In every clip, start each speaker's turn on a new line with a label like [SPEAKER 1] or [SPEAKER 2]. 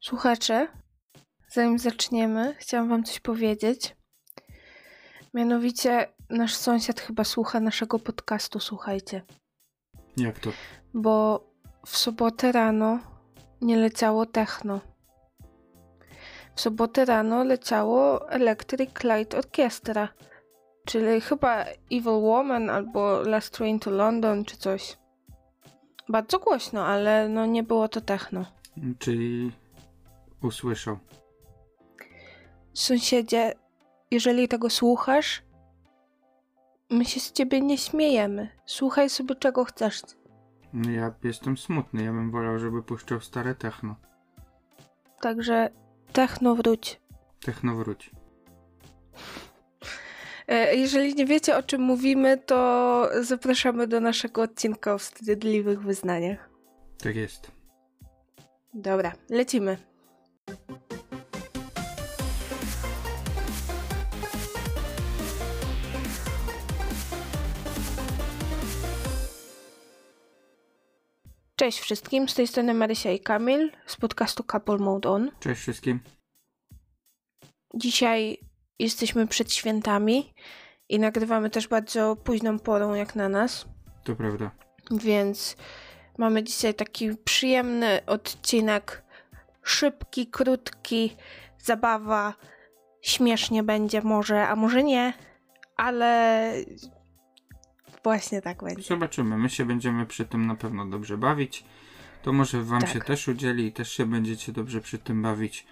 [SPEAKER 1] Słuchacze, zanim zaczniemy, chciałam Wam coś powiedzieć. Mianowicie, nasz sąsiad chyba słucha naszego podcastu, słuchajcie,
[SPEAKER 2] Jak to?
[SPEAKER 1] bo w sobotę rano nie leciało techno. W sobotę rano leciało Electric Light Orchestra, czyli chyba Evil Woman albo Last Train to London czy coś. Bardzo głośno, ale no nie było to techno.
[SPEAKER 2] Czyli usłyszał.
[SPEAKER 1] Sąsiedzie, jeżeli tego słuchasz, my się z ciebie nie śmiejemy. Słuchaj sobie czego chcesz.
[SPEAKER 2] No Ja jestem smutny, ja bym wolał, żeby puszczał stare techno.
[SPEAKER 1] Także techno wróć.
[SPEAKER 2] Techno wróć.
[SPEAKER 1] E, Jeżeli nie wiecie o czym mówimy, to zapraszamy do naszego odcinka o wstydliwych wyznaniach.
[SPEAKER 2] Tak jest.
[SPEAKER 1] Dobra, lecimy. Cześć wszystkim, z tej strony Marysia i Kamil z podcastu Couple Mode On.
[SPEAKER 2] Cześć wszystkim.
[SPEAKER 1] Dzisiaj jesteśmy przed świętami i nagrywamy też bardzo późną porą jak na nas,
[SPEAKER 2] To prawda.
[SPEAKER 1] więc mamy dzisiaj taki przyjemny odcinek, szybki, krótki, zabawa, śmiesznie będzie może, a może nie, ale właśnie tak będzie.
[SPEAKER 2] Zobaczymy, my się będziemy przy tym na pewno dobrze bawić. To może wam
[SPEAKER 1] Tak.
[SPEAKER 2] się też udzieli i też się będziecie dobrze przy tym bawić.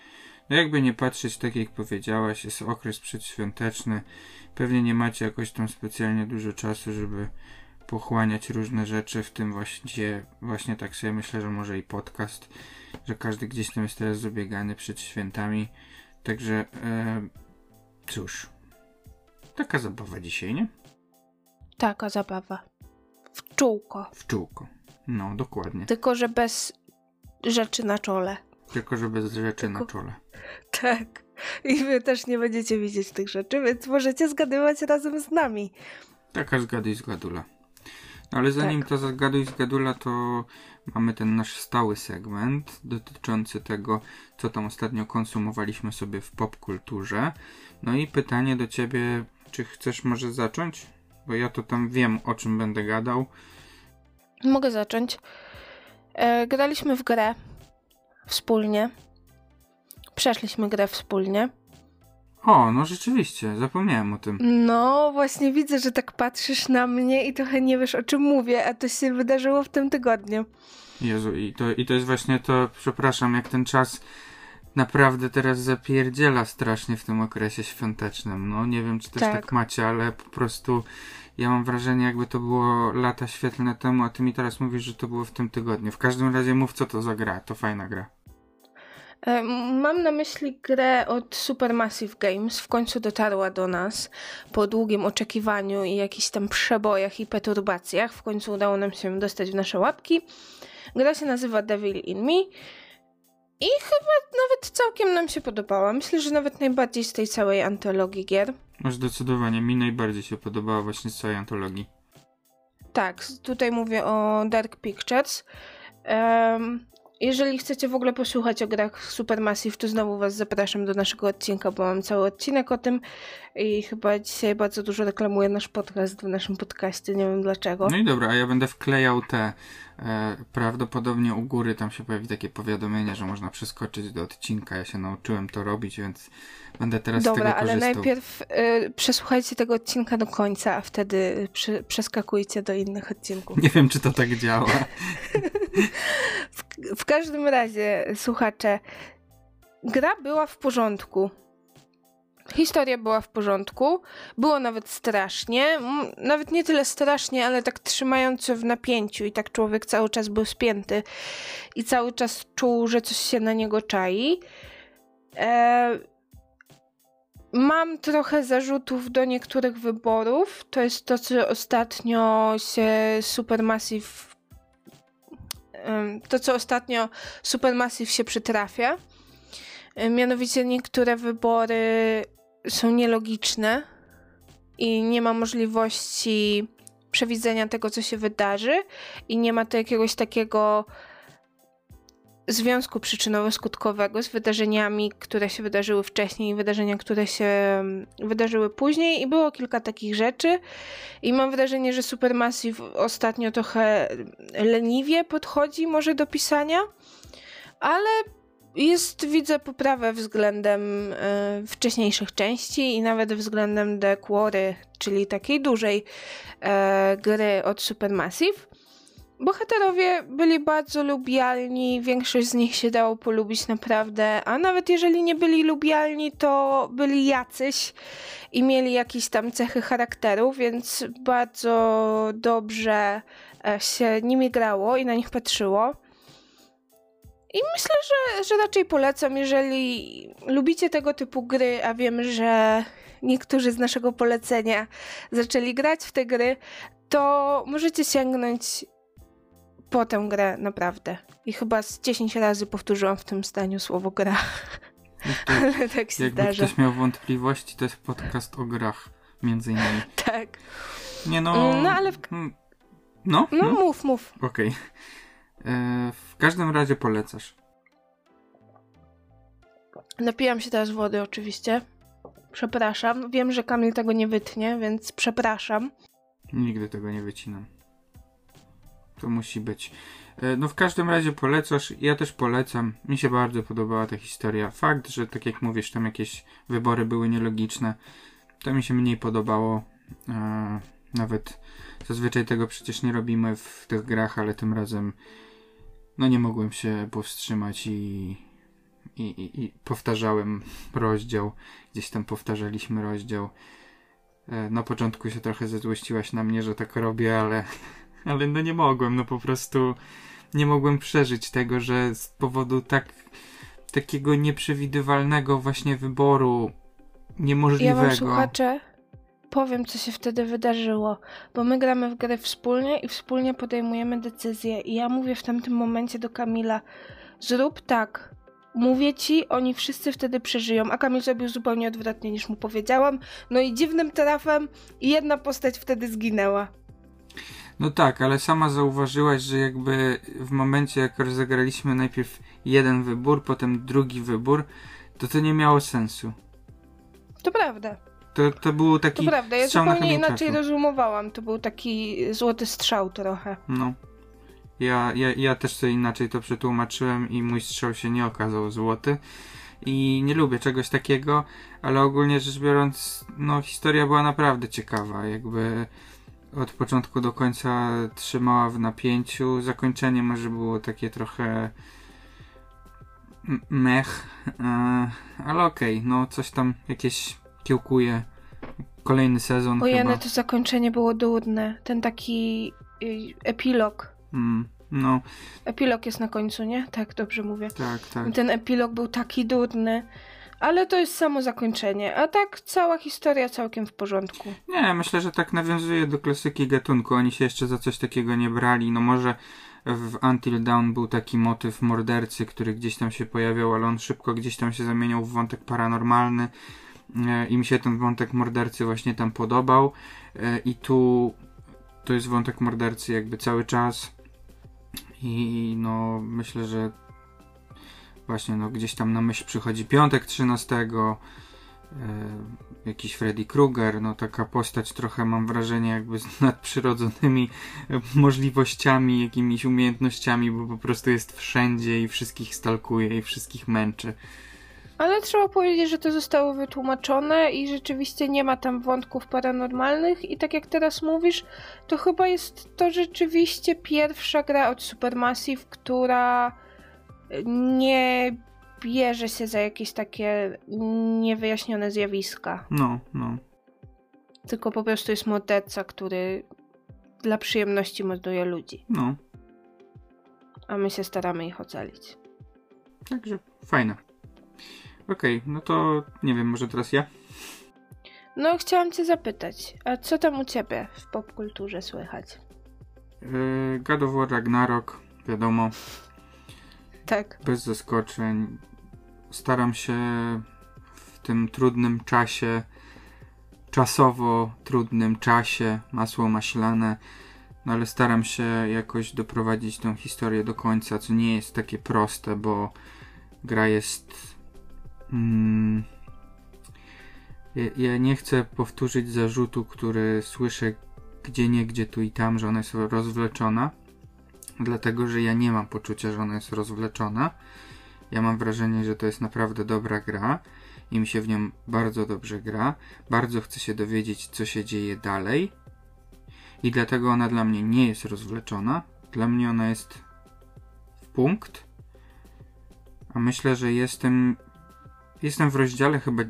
[SPEAKER 2] No jakby nie patrzeć, tak jak powiedziałaś, jest okres przedświąteczny. Pewnie nie macie jakoś tam specjalnie dużo czasu, żeby pochłaniać różne rzeczy, w tym właśnie, właśnie tak sobie myślę, że może i podcast, że każdy gdzieś tam jest teraz zabiegany przed świętami. Także, e, cóż, taka zabawa dzisiaj, nie?
[SPEAKER 1] Taka zabawa. W czółko.
[SPEAKER 2] W czółko. No, dokładnie.
[SPEAKER 1] Tylko, że bez rzeczy na czole.
[SPEAKER 2] Tylko, że bez rzeczy na
[SPEAKER 1] Tylko-
[SPEAKER 2] czole.
[SPEAKER 1] Tak. I wy też nie będziecie widzieć tych rzeczy, więc możecie zgadywać razem z nami.
[SPEAKER 2] Taka zgaduj zgadula. No ale zanim
[SPEAKER 1] Tak.
[SPEAKER 2] to zgaduj zgadula, to mamy ten nasz stały segment dotyczący tego, co tam ostatnio konsumowaliśmy sobie w popkulturze. No i pytanie do ciebie, czy chcesz może zacząć? Bo ja to tam wiem, o czym będę gadał.
[SPEAKER 1] Mogę zacząć. E, graliśmy w grę wspólnie. Przeszliśmy grę wspólnie.
[SPEAKER 2] O, no rzeczywiście, zapomniałem o tym.
[SPEAKER 1] No, właśnie widzę, że tak patrzysz na mnie i trochę nie wiesz o czym mówię, a to się wydarzyło w tym tygodniu.
[SPEAKER 2] Jezu, i to, i to jest właśnie to, przepraszam, jak ten czas naprawdę teraz zapierdziela strasznie w tym okresie świątecznym. No nie wiem, czy też tak,
[SPEAKER 1] Tak.
[SPEAKER 2] macie, ale po prostu ja mam wrażenie, jakby to było lata świetlne temu, a ty mi teraz mówisz, że to było w tym tygodniu. W każdym razie mów, co to za gra, to fajna gra.
[SPEAKER 1] E, Mam na myśli grę od Supermassive Games. W końcu dotarła do nas po długim oczekiwaniu i jakichś tam przebojach i perturbacjach. W końcu udało nam się dostać w nasze łapki. Gra się nazywa Devil in Me i chyba nawet całkiem nam się podobała. Myślę, że nawet najbardziej z tej całej antologii gier.
[SPEAKER 2] No zdecydowanie, mi najbardziej się podobała właśnie z całej antologii.
[SPEAKER 1] Tak, s- tutaj mówię o Dark Pictures. Em, jeżeli chcecie w ogóle posłuchać o grach Supermassive, to znowu Was zapraszam do naszego odcinka, bo mam cały odcinek o tym i chyba dzisiaj bardzo dużo reklamuję nasz podcast w naszym podcaście, nie wiem dlaczego.
[SPEAKER 2] No i dobra, a ja będę wklejał te. E, prawdopodobnie u góry tam się pojawi takie powiadomienie, że można przeskoczyć do odcinka. Ja się nauczyłem to robić, więc będę teraz z
[SPEAKER 1] Dobra,
[SPEAKER 2] tego
[SPEAKER 1] ale
[SPEAKER 2] korzystał.
[SPEAKER 1] najpierw y, przesłuchajcie tego odcinka do końca, a wtedy przy, przeskakujcie do innych odcinków.
[SPEAKER 2] Nie wiem, czy to tak działa.
[SPEAKER 1] W każdym razie, słuchacze, gra była w porządku. Historia była w porządku. Było nawet strasznie. M, Nawet nie tyle strasznie, ale tak trzymająco w napięciu, i tak człowiek cały czas był spięty i cały czas czuł, że coś się na niego czai. E, mam trochę zarzutów do niektórych wyborów. To jest to, co ostatnio się Supermassive em, to, co ostatnio Supermassive się przytrafia. E, Mianowicie niektóre wybory są nielogiczne i nie ma możliwości przewidzenia tego, co się wydarzy i nie ma to jakiegoś takiego związku przyczynowo-skutkowego z wydarzeniami, które się wydarzyły wcześniej i wydarzenia, które się mm, wydarzyły później i było kilka takich rzeczy i mam wrażenie, że Supermassive ostatnio trochę leniwie podchodzi może do pisania, ale jest, widzę poprawę względem e, wcześniejszych części i nawet względem The Quarry, czyli takiej dużej e, gry od Supermassive. Bohaterowie byli bardzo lubialni, większość z nich się dało polubić naprawdę, a nawet jeżeli nie byli lubialni, to byli jacyś i mieli jakieś tam cechy charakteru, więc bardzo dobrze e, się nimi grało i na nich patrzyło. I myślę, że, że raczej polecam, jeżeli lubicie tego typu gry, a wiem, że niektórzy z naszego polecenia zaczęli grać w te gry, to możecie sięgnąć po tę grę naprawdę. I chyba z 10 razy powtórzyłam w tym zdaniu słowo gra,
[SPEAKER 2] Jak to-
[SPEAKER 1] ale tak się
[SPEAKER 2] Jakby
[SPEAKER 1] zdarza.
[SPEAKER 2] ktoś miał wątpliwości, to jest podcast o grach, między innymi.
[SPEAKER 1] Tak.
[SPEAKER 2] Nie no...
[SPEAKER 1] No ale w...
[SPEAKER 2] mm, No?
[SPEAKER 1] no,
[SPEAKER 2] no?
[SPEAKER 1] mów, mów.
[SPEAKER 2] Okej. E, W każdym razie polecasz.
[SPEAKER 1] Napijam się teraz wody oczywiście. Przepraszam. Wiem, że Kamil tego nie wytnie, więc przepraszam.
[SPEAKER 2] Nigdy tego nie wycinam. To musi być. E, No w każdym razie polecasz, ja też polecam. Mi się bardzo podobała ta historia. Fakt, że tak jak mówisz, tam jakieś wybory były nielogiczne, to mi się mniej podobało. E, Nawet zazwyczaj tego przecież nie robimy w tych grach, ale tym razem no nie mogłem się powstrzymać i, i, i, i powtarzałem rozdział. Gdzieś tam powtarzaliśmy rozdział. E, Na początku się trochę zezłościłaś na mnie, że tak robię, ale, ale no nie mogłem, no po prostu nie mogłem przeżyć tego, że z powodu tak takiego nieprzewidywalnego właśnie wyboru
[SPEAKER 1] Ja
[SPEAKER 2] niemożliwego.
[SPEAKER 1] wam słuchacze powiem, co się wtedy wydarzyło, bo my gramy w grę wspólnie i wspólnie podejmujemy decyzje. I ja mówię w tamtym momencie do Kamila: zrób tak. Mówię ci, oni wszyscy wtedy przeżyją, a Kamil zrobił zupełnie odwrotnie niż mu powiedziałam. No i dziwnym trafem jedna postać wtedy zginęła.
[SPEAKER 2] No tak, ale sama zauważyłaś, że jakby w momencie, jak rozegraliśmy najpierw jeden wybór, potem drugi wybór, to to nie miało sensu.
[SPEAKER 1] To prawda,
[SPEAKER 2] To, to był
[SPEAKER 1] to
[SPEAKER 2] taki
[SPEAKER 1] prawda. Ja
[SPEAKER 2] strzał na
[SPEAKER 1] zupełnie
[SPEAKER 2] kamień
[SPEAKER 1] inaczej
[SPEAKER 2] trafił.
[SPEAKER 1] rozumowałam. To był taki złoty strzał trochę.
[SPEAKER 2] No. Ja, ja, ja też sobie inaczej to przetłumaczyłem i mój strzał się nie okazał złoty. I nie lubię czegoś takiego, ale ogólnie rzecz biorąc, no historia była naprawdę ciekawa. Jakby od początku do końca trzymała w napięciu. Zakończenie może było takie trochę m- mech, e, ale okej, no coś tam jakieś kiełkuje. Kolejny sezon
[SPEAKER 1] Ojej,
[SPEAKER 2] chyba.
[SPEAKER 1] no to zakończenie było durne. Ten taki y, epilog.
[SPEAKER 2] Mm, no,
[SPEAKER 1] Epilog jest na końcu, nie? Tak, dobrze mówię.
[SPEAKER 2] tak, tak.
[SPEAKER 1] Ten epilog był taki dudny, ale to jest samo zakończenie. A tak cała historia całkiem w porządku.
[SPEAKER 2] Nie, myślę, że tak nawiązuje do klasyki gatunku. Oni się jeszcze za coś takiego nie brali. No może w Until Dawn był taki motyw mordercy, który gdzieś tam się pojawiał, ale on szybko gdzieś tam się zamieniał w wątek paranormalny. E, I mi się ten wątek mordercy właśnie tam podobał. E, I tu to jest wątek mordercy jakby cały czas. I no myślę, że właśnie no gdzieś tam na myśl przychodzi piątek 13. E, jakiś Freddy Krueger, no taka postać trochę mam wrażenie jakby z nadprzyrodzonymi e, możliwościami, jakimiś umiejętnościami, bo po prostu jest wszędzie i wszystkich stalkuje i wszystkich męczy.
[SPEAKER 1] Ale trzeba powiedzieć, że to zostało wytłumaczone i rzeczywiście nie ma tam wątków paranormalnych. I tak jak teraz mówisz, to chyba jest to rzeczywiście pierwsza gra od Supermassive, która nie bierze się za jakieś takie niewyjaśnione zjawiska.
[SPEAKER 2] No, no.
[SPEAKER 1] Tylko po prostu jest morderca, który dla przyjemności morduje ludzi,
[SPEAKER 2] No,
[SPEAKER 1] a my się staramy ich ocalić.
[SPEAKER 2] także fajne. Okej, no to nie wiem, może teraz ja?
[SPEAKER 1] No, chciałam cię zapytać, a co tam u ciebie w popkulturze słychać?
[SPEAKER 2] Yy, God of War Ragnarok, wiadomo,
[SPEAKER 1] Tak.
[SPEAKER 2] bez zaskoczeń. Staram się w tym trudnym czasie, czasowo trudnym czasie, masło maślane, No ale staram się jakoś doprowadzić tą historię do końca, co nie jest takie proste, bo gra jest. Mm, ja, ja nie chcę powtórzyć zarzutu, który słyszę gdzie nie, gdzie tu i tam, że ona jest rozwleczona, dlatego że ja nie mam poczucia, że ona jest rozwleczona. Ja mam wrażenie, że to jest naprawdę dobra gra i mi się w nią bardzo dobrze gra. Bardzo chcę się dowiedzieć, co się dzieje dalej. I dlatego ona dla mnie nie jest rozwleczona. Dla mnie ona jest w punkt. A myślę, że jestem. Jestem w rozdziale chyba.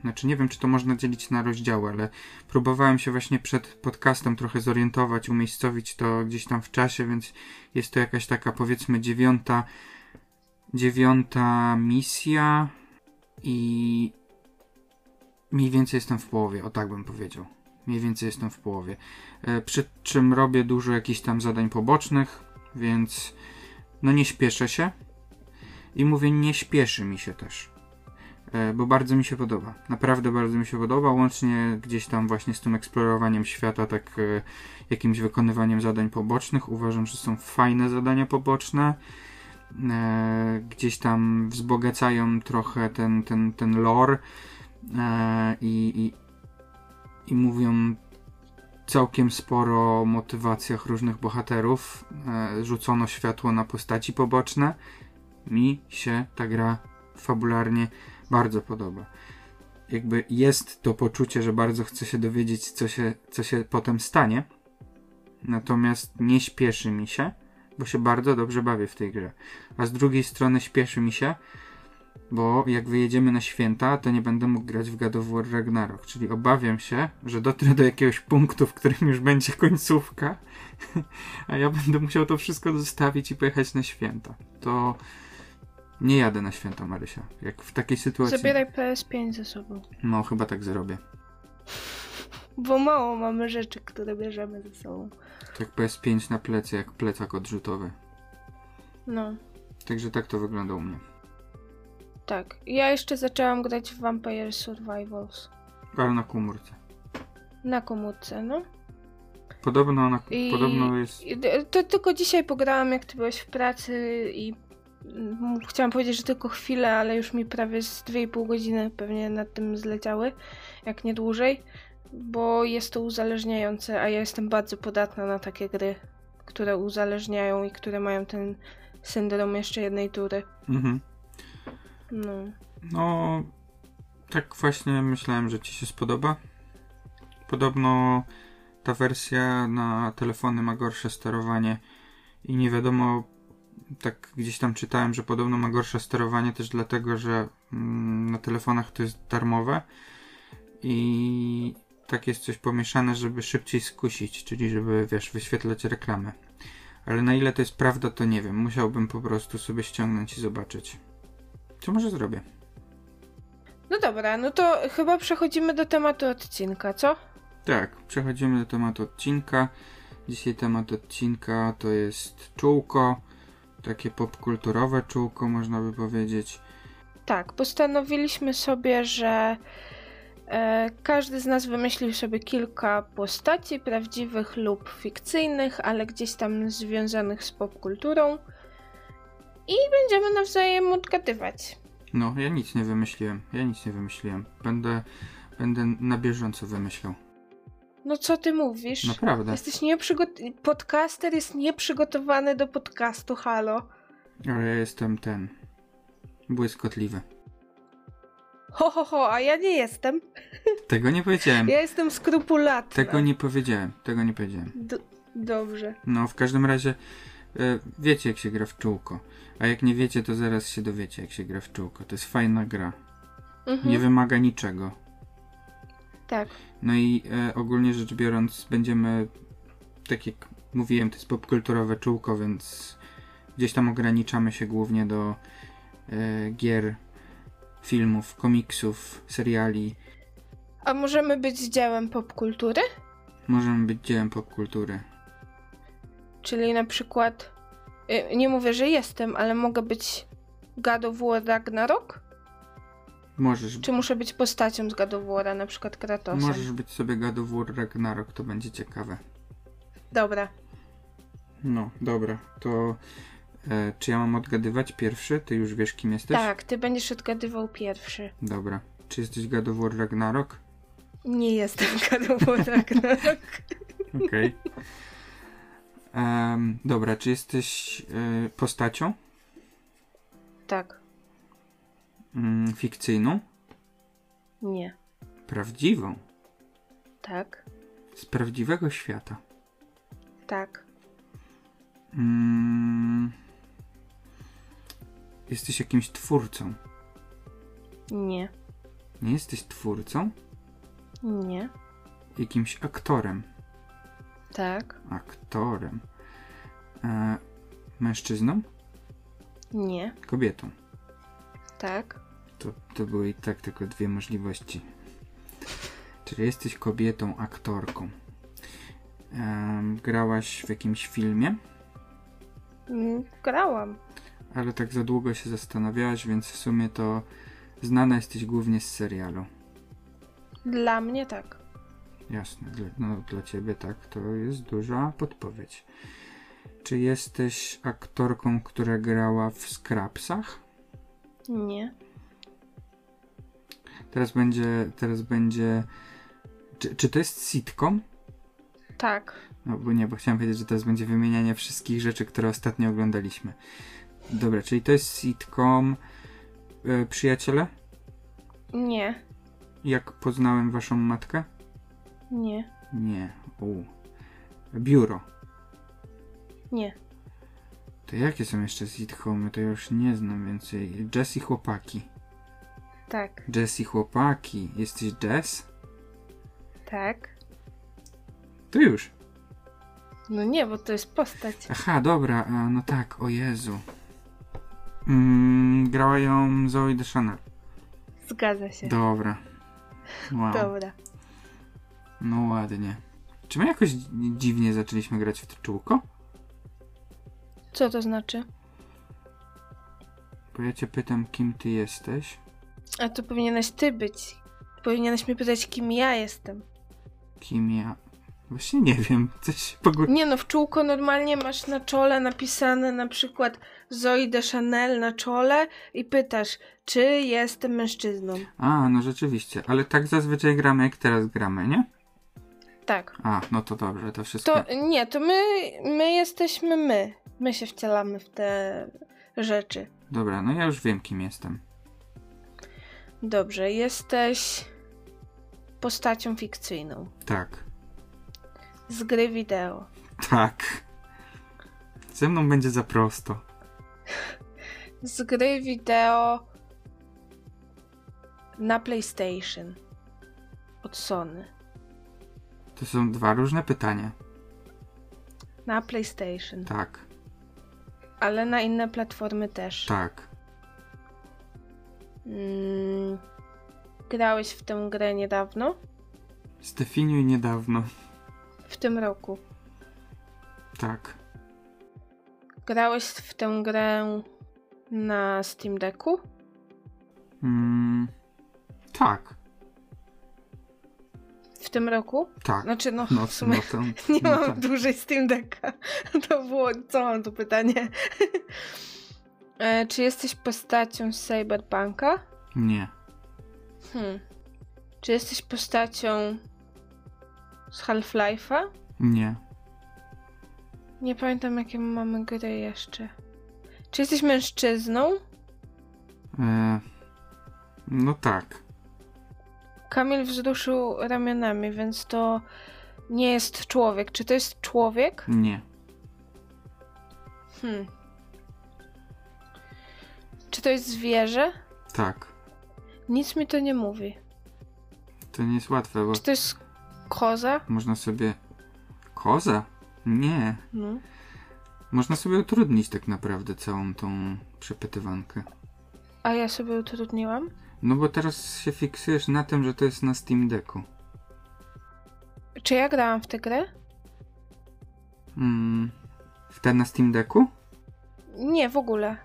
[SPEAKER 2] Znaczy, nie wiem, czy to można dzielić na rozdziały, ale próbowałem się właśnie przed podcastem trochę zorientować, umiejscowić to gdzieś tam w czasie, więc jest to jakaś taka powiedzmy dziewiąta. Dziewiąta misja i mniej więcej jestem w połowie, o tak bym powiedział. Mniej więcej jestem w połowie. E, Przy czym robię dużo jakichś tam zadań pobocznych, więc no nie śpieszę się. I mówię, nie śpieszy mi się też. E, Bo bardzo mi się podoba. Naprawdę bardzo mi się podoba. Łącznie gdzieś tam właśnie z tym eksplorowaniem świata, tak e, jakimś wykonywaniem zadań pobocznych. Uważam, że są fajne zadania poboczne e, gdzieś tam wzbogacają trochę ten, ten, ten lore e, i, i, i mówią całkiem sporo o motywacjach różnych bohaterów. E, rzucono światło na postaci poboczne. Mi się ta gra fabularnie bardzo podoba. Jakby jest to poczucie, że bardzo chcę się dowiedzieć, co się, co się potem stanie. Natomiast nie śpieszy mi się, bo się bardzo dobrze bawię w tej grze a z drugiej strony śpieszy mi się, bo jak wyjedziemy na święta, to nie będę mógł grać w God of War Ragnarok, czyli obawiam się, że dotrę do jakiegoś punktu, w którym już będzie końcówka, a ja będę musiał to wszystko zostawić i pojechać na święta. To nie jadę na święta, Marysia. Jak w takiej sytuacji...
[SPEAKER 1] Zabieraj PS5 ze sobą.
[SPEAKER 2] No, chyba tak zrobię.
[SPEAKER 1] Bo mało mamy rzeczy, które bierzemy ze sobą.
[SPEAKER 2] Tak jak PS5 na plecy, jak plecak odrzutowy.
[SPEAKER 1] No,
[SPEAKER 2] Także tak to wygląda u mnie.
[SPEAKER 1] tak. Ja jeszcze zaczęłam grać w Vampire Survivals.
[SPEAKER 2] Ale na komórce.
[SPEAKER 1] Na komórce, no.
[SPEAKER 2] Podobno, ona,
[SPEAKER 1] I-
[SPEAKER 2] podobno jest...
[SPEAKER 1] I d- To tylko dzisiaj pograłam, jak ty byłeś w pracy i mm, chciałam powiedzieć, że tylko chwilę, ale już mi prawie z 2,5 godziny pewnie nad tym zleciały, jak nie dłużej, bo jest to uzależniające, a ja jestem bardzo podatna na takie gry, które uzależniają i które mają ten syndrom jeszcze jednej tury.
[SPEAKER 2] Mhm.
[SPEAKER 1] No.
[SPEAKER 2] No, tak właśnie myślałem, że ci się spodoba. Podobno ta wersja na telefony ma gorsze sterowanie i nie wiadomo, tak gdzieś tam czytałem, że podobno ma gorsze sterowanie też dlatego, że mm, na telefonach to jest darmowe i tak jest coś pomieszane, żeby szybciej skusić, czyli żeby, wiesz, wyświetlać reklamy. Ale na ile to jest prawda, to nie wiem. Musiałbym po prostu sobie ściągnąć i zobaczyć. Co może zrobię?
[SPEAKER 1] no dobra, no to chyba przechodzimy do tematu odcinka, co?
[SPEAKER 2] Tak, przechodzimy do tematu odcinka. Dzisiaj temat odcinka to jest czółko, takie popkulturowe czółko, można by powiedzieć.
[SPEAKER 1] Tak, postanowiliśmy sobie, że e, każdy z nas wymyślił sobie kilka postaci, prawdziwych lub fikcyjnych, ale gdzieś tam związanych z popkulturą. I będziemy nawzajem odgadywać.
[SPEAKER 2] No, ja nic nie wymyśliłem, ja nic nie wymyśliłem. Będę, będę na bieżąco wymyślał.
[SPEAKER 1] No co ty mówisz?
[SPEAKER 2] Naprawdę.
[SPEAKER 1] Jesteś nieprzygotowany. Podcaster jest nieprzygotowany do podcastu, halo.
[SPEAKER 2] Ale ja jestem ten. błyskotliwy.
[SPEAKER 1] Ho, ho, ho, a ja nie jestem.
[SPEAKER 2] Tego nie powiedziałem.
[SPEAKER 1] Ja jestem skrupulatna.
[SPEAKER 2] Tego nie powiedziałem, tego nie powiedziałem.
[SPEAKER 1] D- dobrze.
[SPEAKER 2] No, w każdym razie e, wiecie, jak się gra w czółko. A jak nie wiecie, to zaraz się dowiecie, jak się gra w czółko. To jest fajna gra.
[SPEAKER 1] Mhm.
[SPEAKER 2] Nie wymaga niczego.
[SPEAKER 1] Tak.
[SPEAKER 2] No i e, ogólnie rzecz biorąc, będziemy, tak jak mówiłem, to jest popkulturowe czółko, więc gdzieś tam ograniczamy się głównie do e, gier, filmów, komiksów, seriali.
[SPEAKER 1] A możemy być dziełem popkultury?
[SPEAKER 2] Możemy być dziełem popkultury.
[SPEAKER 1] Czyli na przykład, y, nie mówię, że jestem, ale mogę być God of War Ragnarok?
[SPEAKER 2] Możesz,
[SPEAKER 1] Czy muszę być postacią z God of War, na przykład Kratosem?
[SPEAKER 2] możesz być sobie God of War Ragnarok, to będzie ciekawe.
[SPEAKER 1] Dobra,
[SPEAKER 2] No, dobra, to e, czy ja mam odgadywać pierwszy? Ty już wiesz, kim jesteś?
[SPEAKER 1] Tak, ty będziesz odgadywał pierwszy.
[SPEAKER 2] Dobra. Czy jesteś God of War Ragnarok?
[SPEAKER 1] Nie jestem kadłubą Ragnarok.
[SPEAKER 2] Okej. Em, dobra, czy jesteś e, postacią
[SPEAKER 1] Tak,
[SPEAKER 2] Mm, fikcyjną?
[SPEAKER 1] nie,
[SPEAKER 2] Prawdziwą?
[SPEAKER 1] tak,
[SPEAKER 2] Z prawdziwego świata?
[SPEAKER 1] tak,
[SPEAKER 2] Mm, jesteś jakimś twórcą?
[SPEAKER 1] nie,
[SPEAKER 2] Nie jesteś twórcą?
[SPEAKER 1] nie,
[SPEAKER 2] Jakimś aktorem?
[SPEAKER 1] tak,
[SPEAKER 2] Aktorem. E, mężczyzną?
[SPEAKER 1] nie,
[SPEAKER 2] Kobietą.
[SPEAKER 1] tak,
[SPEAKER 2] To, to były i tak tylko dwie możliwości. Czyli jesteś kobietą, aktorką. Em, grałaś w jakimś filmie,
[SPEAKER 1] Mm, grałam.
[SPEAKER 2] ale tak za długo się zastanawiałaś, więc w sumie to znana jesteś głównie z serialu.
[SPEAKER 1] Dla mnie tak.
[SPEAKER 2] Jasne, dla, no, dla ciebie tak, to jest duża podpowiedź. Czy jesteś aktorką, która grała w Scrapsach?
[SPEAKER 1] Nie,
[SPEAKER 2] Teraz będzie, teraz będzie... Czy, czy to jest sitcom?
[SPEAKER 1] tak,
[SPEAKER 2] No bo nie, bo chciałem powiedzieć, że teraz będzie wymienianie wszystkich rzeczy, które ostatnio oglądaliśmy. Dobra, czyli to jest sitcom e, Przyjaciele?
[SPEAKER 1] nie,
[SPEAKER 2] Jak poznałem waszą matkę?
[SPEAKER 1] nie,
[SPEAKER 2] Nie. U. Biuro.
[SPEAKER 1] nie,
[SPEAKER 2] To jakie są jeszcze sitcomy? To ja już nie znam więcej. Jess i chłopaki.
[SPEAKER 1] tak,
[SPEAKER 2] Jess i chłopaki. Jesteś Jess?
[SPEAKER 1] tak.
[SPEAKER 2] To już.
[SPEAKER 1] No nie, bo to jest postać.
[SPEAKER 2] Aha, dobra, a, no tak, o Jezu. Mm, grała ją Zoe Deschanel.
[SPEAKER 1] Zgadza się.
[SPEAKER 2] Dobra. Wow.
[SPEAKER 1] Dobra.
[SPEAKER 2] No ładnie. Czy my jakoś dzi- dziwnie zaczęliśmy grać w to czółko?
[SPEAKER 1] Co to znaczy?
[SPEAKER 2] Bo ja cię pytam, kim ty jesteś,
[SPEAKER 1] A to powinieneś ty być. Powinieneś mnie pytać, kim ja jestem.
[SPEAKER 2] kim ja... Właśnie nie wiem, coś się pogu...
[SPEAKER 1] Nie no, w czółko normalnie masz na czole napisane na przykład Zoe de Chanel na czole i pytasz, czy jestem mężczyzną.
[SPEAKER 2] A, no rzeczywiście, ale tak zazwyczaj gramy, jak teraz gramy, nie?
[SPEAKER 1] Tak.
[SPEAKER 2] A, no to dobrze, to wszystko...
[SPEAKER 1] To nie, to my, my jesteśmy my. My się wcielamy w te rzeczy.
[SPEAKER 2] Dobra, no ja już wiem, kim jestem.
[SPEAKER 1] Dobrze, jesteś postacią fikcyjną
[SPEAKER 2] Tak,
[SPEAKER 1] z gry wideo.
[SPEAKER 2] tak. Ze mną będzie za prosto.
[SPEAKER 1] z gry wideo na PlayStation od Sony.
[SPEAKER 2] To są dwa różne pytania.
[SPEAKER 1] Na PlayStation,
[SPEAKER 2] Tak,
[SPEAKER 1] ale na inne platformy też.
[SPEAKER 2] tak.
[SPEAKER 1] Mm, grałeś w tę grę niedawno?
[SPEAKER 2] Zdefiniuj niedawno.
[SPEAKER 1] W tym roku.
[SPEAKER 2] Tak,
[SPEAKER 1] Grałeś w tę grę na Steam Decku?
[SPEAKER 2] mm, tak,
[SPEAKER 1] W tym roku?
[SPEAKER 2] tak.
[SPEAKER 1] Znaczy, no,
[SPEAKER 2] No,
[SPEAKER 1] w sumie
[SPEAKER 2] no to,
[SPEAKER 1] nie
[SPEAKER 2] no
[SPEAKER 1] mam
[SPEAKER 2] tak.
[SPEAKER 1] dłużej Steam Decka. To było, co mam tu pytanie? e, czy jesteś postacią z Cyberpunka?
[SPEAKER 2] Nie,
[SPEAKER 1] Hmm. Czy jesteś postacią z Half-Life'a?
[SPEAKER 2] nie,
[SPEAKER 1] Nie pamiętam, jakie mamy gry jeszcze. Czy jesteś mężczyzną?
[SPEAKER 2] E, no tak.
[SPEAKER 1] Kamil wzruszył ramionami, więc to nie jest człowiek. Czy to jest człowiek?
[SPEAKER 2] Nie.
[SPEAKER 1] Hmm. Czy to jest zwierzę?
[SPEAKER 2] Tak.
[SPEAKER 1] Nic mi to nie mówi.
[SPEAKER 2] To nie jest łatwe, bo
[SPEAKER 1] Czy to jest koza?
[SPEAKER 2] można sobie. Koza? Nie.
[SPEAKER 1] No.
[SPEAKER 2] Można sobie utrudnić tak naprawdę całą tą przepytywankę.
[SPEAKER 1] A ja sobie utrudniłam?
[SPEAKER 2] No bo teraz się fiksujesz na tym, że to jest na Steam Decku.
[SPEAKER 1] Czy ja grałam w tę grę?
[SPEAKER 2] Mm. W ten na Steam Decku?
[SPEAKER 1] Nie, w ogóle.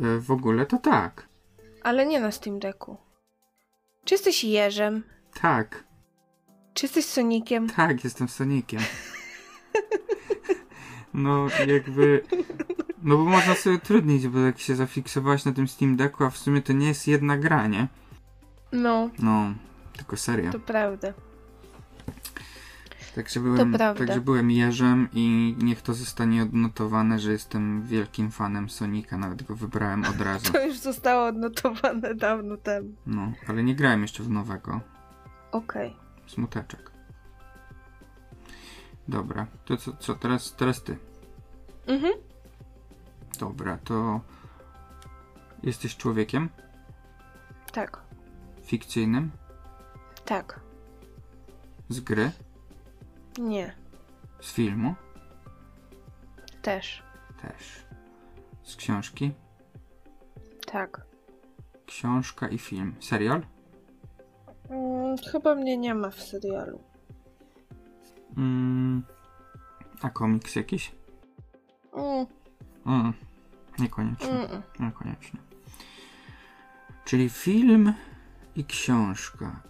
[SPEAKER 2] E, w ogóle to tak.
[SPEAKER 1] Ale nie na Steam Decku. Czy jesteś Jerzem?
[SPEAKER 2] Tak.
[SPEAKER 1] Czy jesteś Sonikiem?
[SPEAKER 2] Tak, jestem Sonikiem. No jakby... No bo można sobie utrudnić, bo jak się zafiksowałeś na tym Steam Decku, a w sumie to nie jest jedna gra, nie?
[SPEAKER 1] No,
[SPEAKER 2] No, tylko seria.
[SPEAKER 1] to prawda.
[SPEAKER 2] Także byłem,
[SPEAKER 1] To prawda.
[SPEAKER 2] także byłem Jerzem i niech to zostanie odnotowane, że jestem wielkim fanem Sonika, nawet go wybrałem od razu.
[SPEAKER 1] To już zostało odnotowane dawno temu.
[SPEAKER 2] No, ale nie grałem jeszcze w nowego.
[SPEAKER 1] Okej.
[SPEAKER 2] Smuteczek. Dobra, to co, co teraz, teraz ty.
[SPEAKER 1] Mhm.
[SPEAKER 2] Dobra, to jesteś człowiekiem
[SPEAKER 1] Tak,
[SPEAKER 2] fikcyjnym
[SPEAKER 1] tak.
[SPEAKER 2] z gry,
[SPEAKER 1] Nie,
[SPEAKER 2] z filmu,
[SPEAKER 1] też.
[SPEAKER 2] też z książki,
[SPEAKER 1] Tak.
[SPEAKER 2] książka i film. Serial?
[SPEAKER 1] Mm, chyba mnie nie ma w serialu.
[SPEAKER 2] Mm, a komiks jakiś?
[SPEAKER 1] Mm,
[SPEAKER 2] Mm, niekoniecznie.
[SPEAKER 1] mm, mm.
[SPEAKER 2] Niekoniecznie. Czyli film i książka.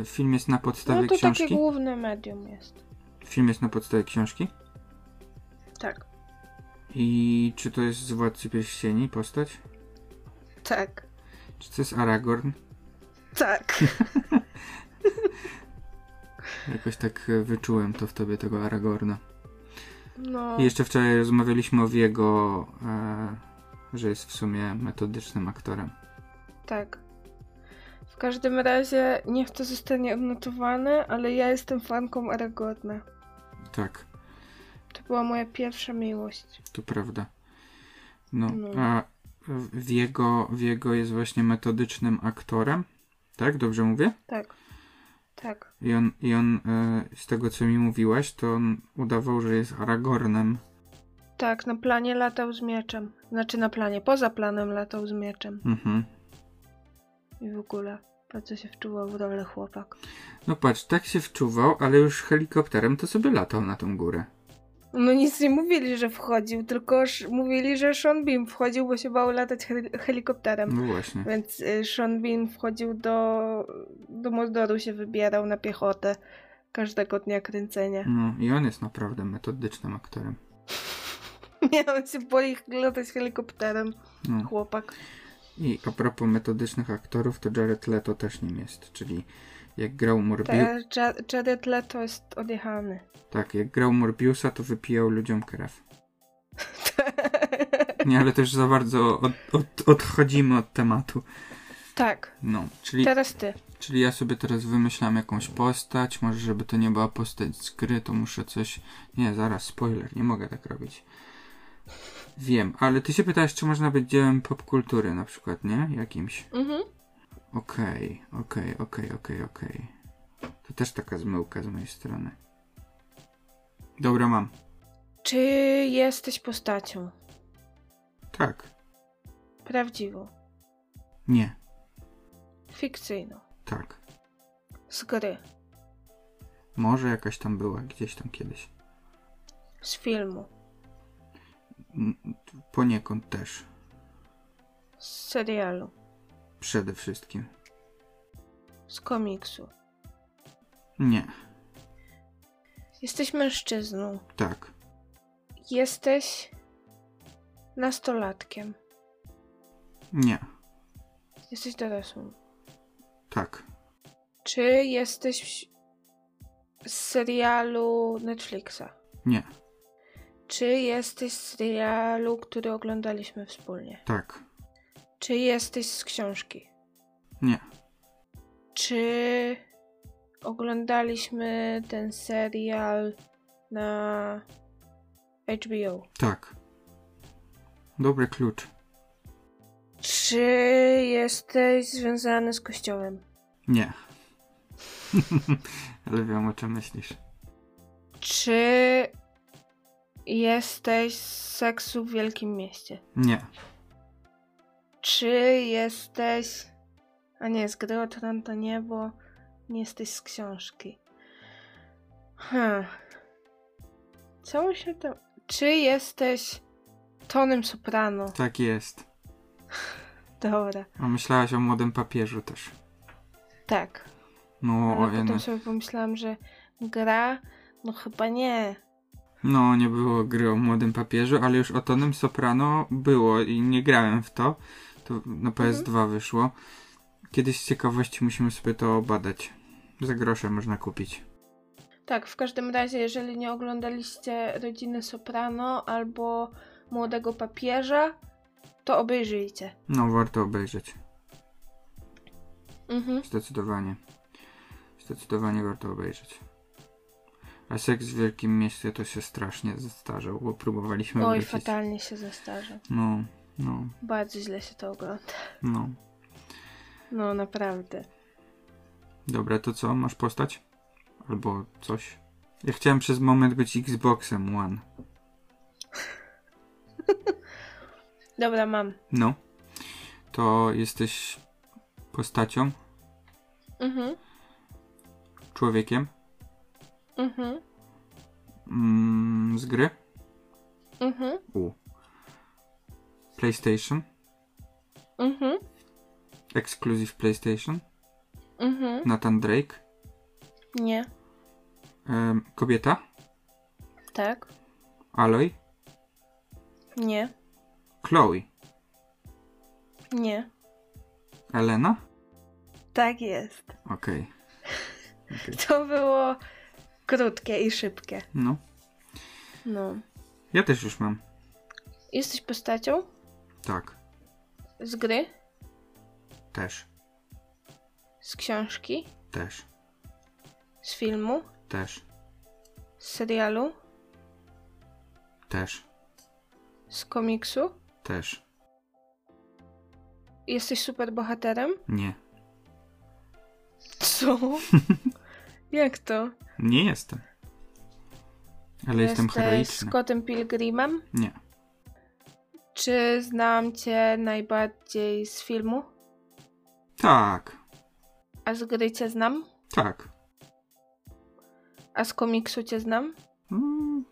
[SPEAKER 2] E, film jest na podstawie
[SPEAKER 1] No to
[SPEAKER 2] książki.
[SPEAKER 1] takie główne medium jest.
[SPEAKER 2] Film jest na podstawie książki.
[SPEAKER 1] Tak.
[SPEAKER 2] I czy to jest z Władcy Pierścieni postać?
[SPEAKER 1] Tak.
[SPEAKER 2] Czy to jest Aragorn?
[SPEAKER 1] Tak.
[SPEAKER 2] Jakoś tak e, wyczułem to w tobie, tego Aragorna.
[SPEAKER 1] No.
[SPEAKER 2] I jeszcze wczoraj rozmawialiśmy o jego, e, że jest w sumie metodycznym aktorem.
[SPEAKER 1] Tak. W każdym razie niech to zostanie odnotowane, ale ja jestem fanką Aragorna.
[SPEAKER 2] Tak.
[SPEAKER 1] To była moja pierwsza miłość.
[SPEAKER 2] To prawda. No,
[SPEAKER 1] No.
[SPEAKER 2] a w- w jego, w jego jest właśnie metodycznym aktorem, tak? Dobrze mówię?
[SPEAKER 1] Tak. Tak.
[SPEAKER 2] I on, i on e, z tego, co mi mówiłaś, to on udawał, że jest Aragornem.
[SPEAKER 1] Tak, na planie latał z mieczem. Znaczy na planie, poza planem latał z mieczem.
[SPEAKER 2] Mhm.
[SPEAKER 1] I w ogóle bardzo się wczuwał w rolę chłopak.
[SPEAKER 2] No patrz, tak się wczuwał, ale już helikopterem to sobie latał na tą górę.
[SPEAKER 1] No nic nie mówili, że wchodził, tylko sz- mówili, że Sean Bean wchodził, bo się bał latać hel- helikopterem.
[SPEAKER 2] No właśnie.
[SPEAKER 1] Więc y, Sean Bean wchodził do, do Mordoru, się wybierał na piechotę każdego dnia kręcenia.
[SPEAKER 2] No i on jest naprawdę metodycznym aktorem.
[SPEAKER 1] Nie, on się boi latać helikopterem,
[SPEAKER 2] No.
[SPEAKER 1] chłopak.
[SPEAKER 2] I a propos metodycznych aktorów, to Jared Leto też nim jest, czyli jak grał Morbius,
[SPEAKER 1] Teraz Ja- Jared Leto jest odjechany.
[SPEAKER 2] tak, jak grał Morbiusa, to wypijał ludziom krew. Nie, ale też za bardzo od, od, odchodzimy od tematu.
[SPEAKER 1] tak,
[SPEAKER 2] No, czyli,
[SPEAKER 1] teraz ty.
[SPEAKER 2] czyli ja sobie teraz wymyślam jakąś postać, może żeby to nie była postać z gry, to muszę coś... Nie, zaraz, spoiler, nie mogę tak robić. Wiem, ale ty się pytałeś, czy można być dziełem popkultury na przykład, nie? Jakimś.
[SPEAKER 1] Mhm.
[SPEAKER 2] Okej, okej, okej, okej, okej. To też taka zmyłka z mojej strony. Dobra, mam.
[SPEAKER 1] Czy jesteś postacią?
[SPEAKER 2] Tak.
[SPEAKER 1] Prawdziwą,
[SPEAKER 2] Nie.
[SPEAKER 1] fikcyjną,
[SPEAKER 2] Tak.
[SPEAKER 1] z gry,
[SPEAKER 2] Może jakaś tam była, gdzieś tam kiedyś.
[SPEAKER 1] z filmu,
[SPEAKER 2] Mm, Poniekąd też.
[SPEAKER 1] z serialu,
[SPEAKER 2] Przede wszystkim.
[SPEAKER 1] z komiksu?
[SPEAKER 2] Nie,
[SPEAKER 1] Jesteś mężczyzną.
[SPEAKER 2] tak,
[SPEAKER 1] Jesteś nastolatkiem.
[SPEAKER 2] nie,
[SPEAKER 1] Jesteś dorosłym.
[SPEAKER 2] tak,
[SPEAKER 1] Czy jesteś z serialu Netflixa?
[SPEAKER 2] nie,
[SPEAKER 1] Czy jesteś z serialu, który oglądaliśmy wspólnie?
[SPEAKER 2] tak,
[SPEAKER 1] Czy jesteś z książki?
[SPEAKER 2] nie,
[SPEAKER 1] Czy oglądaliśmy ten serial na HBO?
[SPEAKER 2] tak. Dobry klucz.
[SPEAKER 1] Czy jesteś związany z kościołem?
[SPEAKER 2] Nie. Ale wiem o czym myślisz.
[SPEAKER 1] Czy jesteś z seksu w wielkim mieście?
[SPEAKER 2] Nie,
[SPEAKER 1] Czy jesteś. A nie, z gry o Tron to nie, bo nie jesteś z książki. Hmm. Co mu się tam. Czy jesteś Tonym Soprano?
[SPEAKER 2] tak jest.
[SPEAKER 1] Dobra,
[SPEAKER 2] A myślałaś o młodym papieżu też.
[SPEAKER 1] tak.
[SPEAKER 2] No,
[SPEAKER 1] Ale
[SPEAKER 2] o,
[SPEAKER 1] potem
[SPEAKER 2] jeny.
[SPEAKER 1] sobie pomyślałam, że gra. No chyba nie.
[SPEAKER 2] No, nie było gry o młodym papieżu, ale już o Tonym Soprano było i nie grałem w to. To
[SPEAKER 1] Mhm.
[SPEAKER 2] na PS2 wyszło. Kiedyś z ciekawości musimy sobie to badać. Za grosze można kupić.
[SPEAKER 1] Tak, w każdym razie, jeżeli nie oglądaliście Rodziny Soprano albo Młodego Papieża, to obejrzyjcie.
[SPEAKER 2] No, warto obejrzeć.
[SPEAKER 1] Mhm.
[SPEAKER 2] Zdecydowanie. Zdecydowanie warto obejrzeć. A seks w wielkim mieście to się strasznie zestarzał, bo próbowaliśmy
[SPEAKER 1] Oj,
[SPEAKER 2] wrócić.
[SPEAKER 1] No fatalnie się zestarza.
[SPEAKER 2] No, no,
[SPEAKER 1] Bardzo źle się to ogląda.
[SPEAKER 2] no.
[SPEAKER 1] No, naprawdę.
[SPEAKER 2] Dobra, to co? Masz postać? Albo coś? Ja chciałem przez moment być Xboxem One.
[SPEAKER 1] Dobra, mam.
[SPEAKER 2] No. To jesteś postacią,
[SPEAKER 1] Mhm.
[SPEAKER 2] człowiekiem
[SPEAKER 1] Mhm.
[SPEAKER 2] mm, z gry
[SPEAKER 1] Mhm.
[SPEAKER 2] PlayStation,
[SPEAKER 1] Mhm.
[SPEAKER 2] Exclusive PlayStation,
[SPEAKER 1] Mhm.
[SPEAKER 2] Nathan Drake,
[SPEAKER 1] Nie.
[SPEAKER 2] em, kobieta,
[SPEAKER 1] Tak.
[SPEAKER 2] Aloy,
[SPEAKER 1] Nie.
[SPEAKER 2] Chloe,
[SPEAKER 1] Nie.
[SPEAKER 2] Elena?
[SPEAKER 1] Tak jest.
[SPEAKER 2] Okej.
[SPEAKER 1] To było krótkie i szybkie.
[SPEAKER 2] No.
[SPEAKER 1] No.
[SPEAKER 2] Ja też już mam.
[SPEAKER 1] Jesteś postacią
[SPEAKER 2] Tak.
[SPEAKER 1] z gry,
[SPEAKER 2] Też.
[SPEAKER 1] z książki,
[SPEAKER 2] Też.
[SPEAKER 1] z filmu,
[SPEAKER 2] Też.
[SPEAKER 1] z serialu,
[SPEAKER 2] Też.
[SPEAKER 1] z komiksu.
[SPEAKER 2] Też.
[SPEAKER 1] Jesteś superbohaterem?
[SPEAKER 2] Nie.
[SPEAKER 1] Co? Jak to?
[SPEAKER 2] Nie jestem. Ale jestem
[SPEAKER 1] Jesteś
[SPEAKER 2] heroiczny.
[SPEAKER 1] Scottem Pilgrimem?
[SPEAKER 2] Nie.
[SPEAKER 1] Czy znam cię najbardziej z filmu?
[SPEAKER 2] Tak.
[SPEAKER 1] A z gry cię znam?
[SPEAKER 2] Tak.
[SPEAKER 1] A z komiksu cię znam?
[SPEAKER 2] Mm,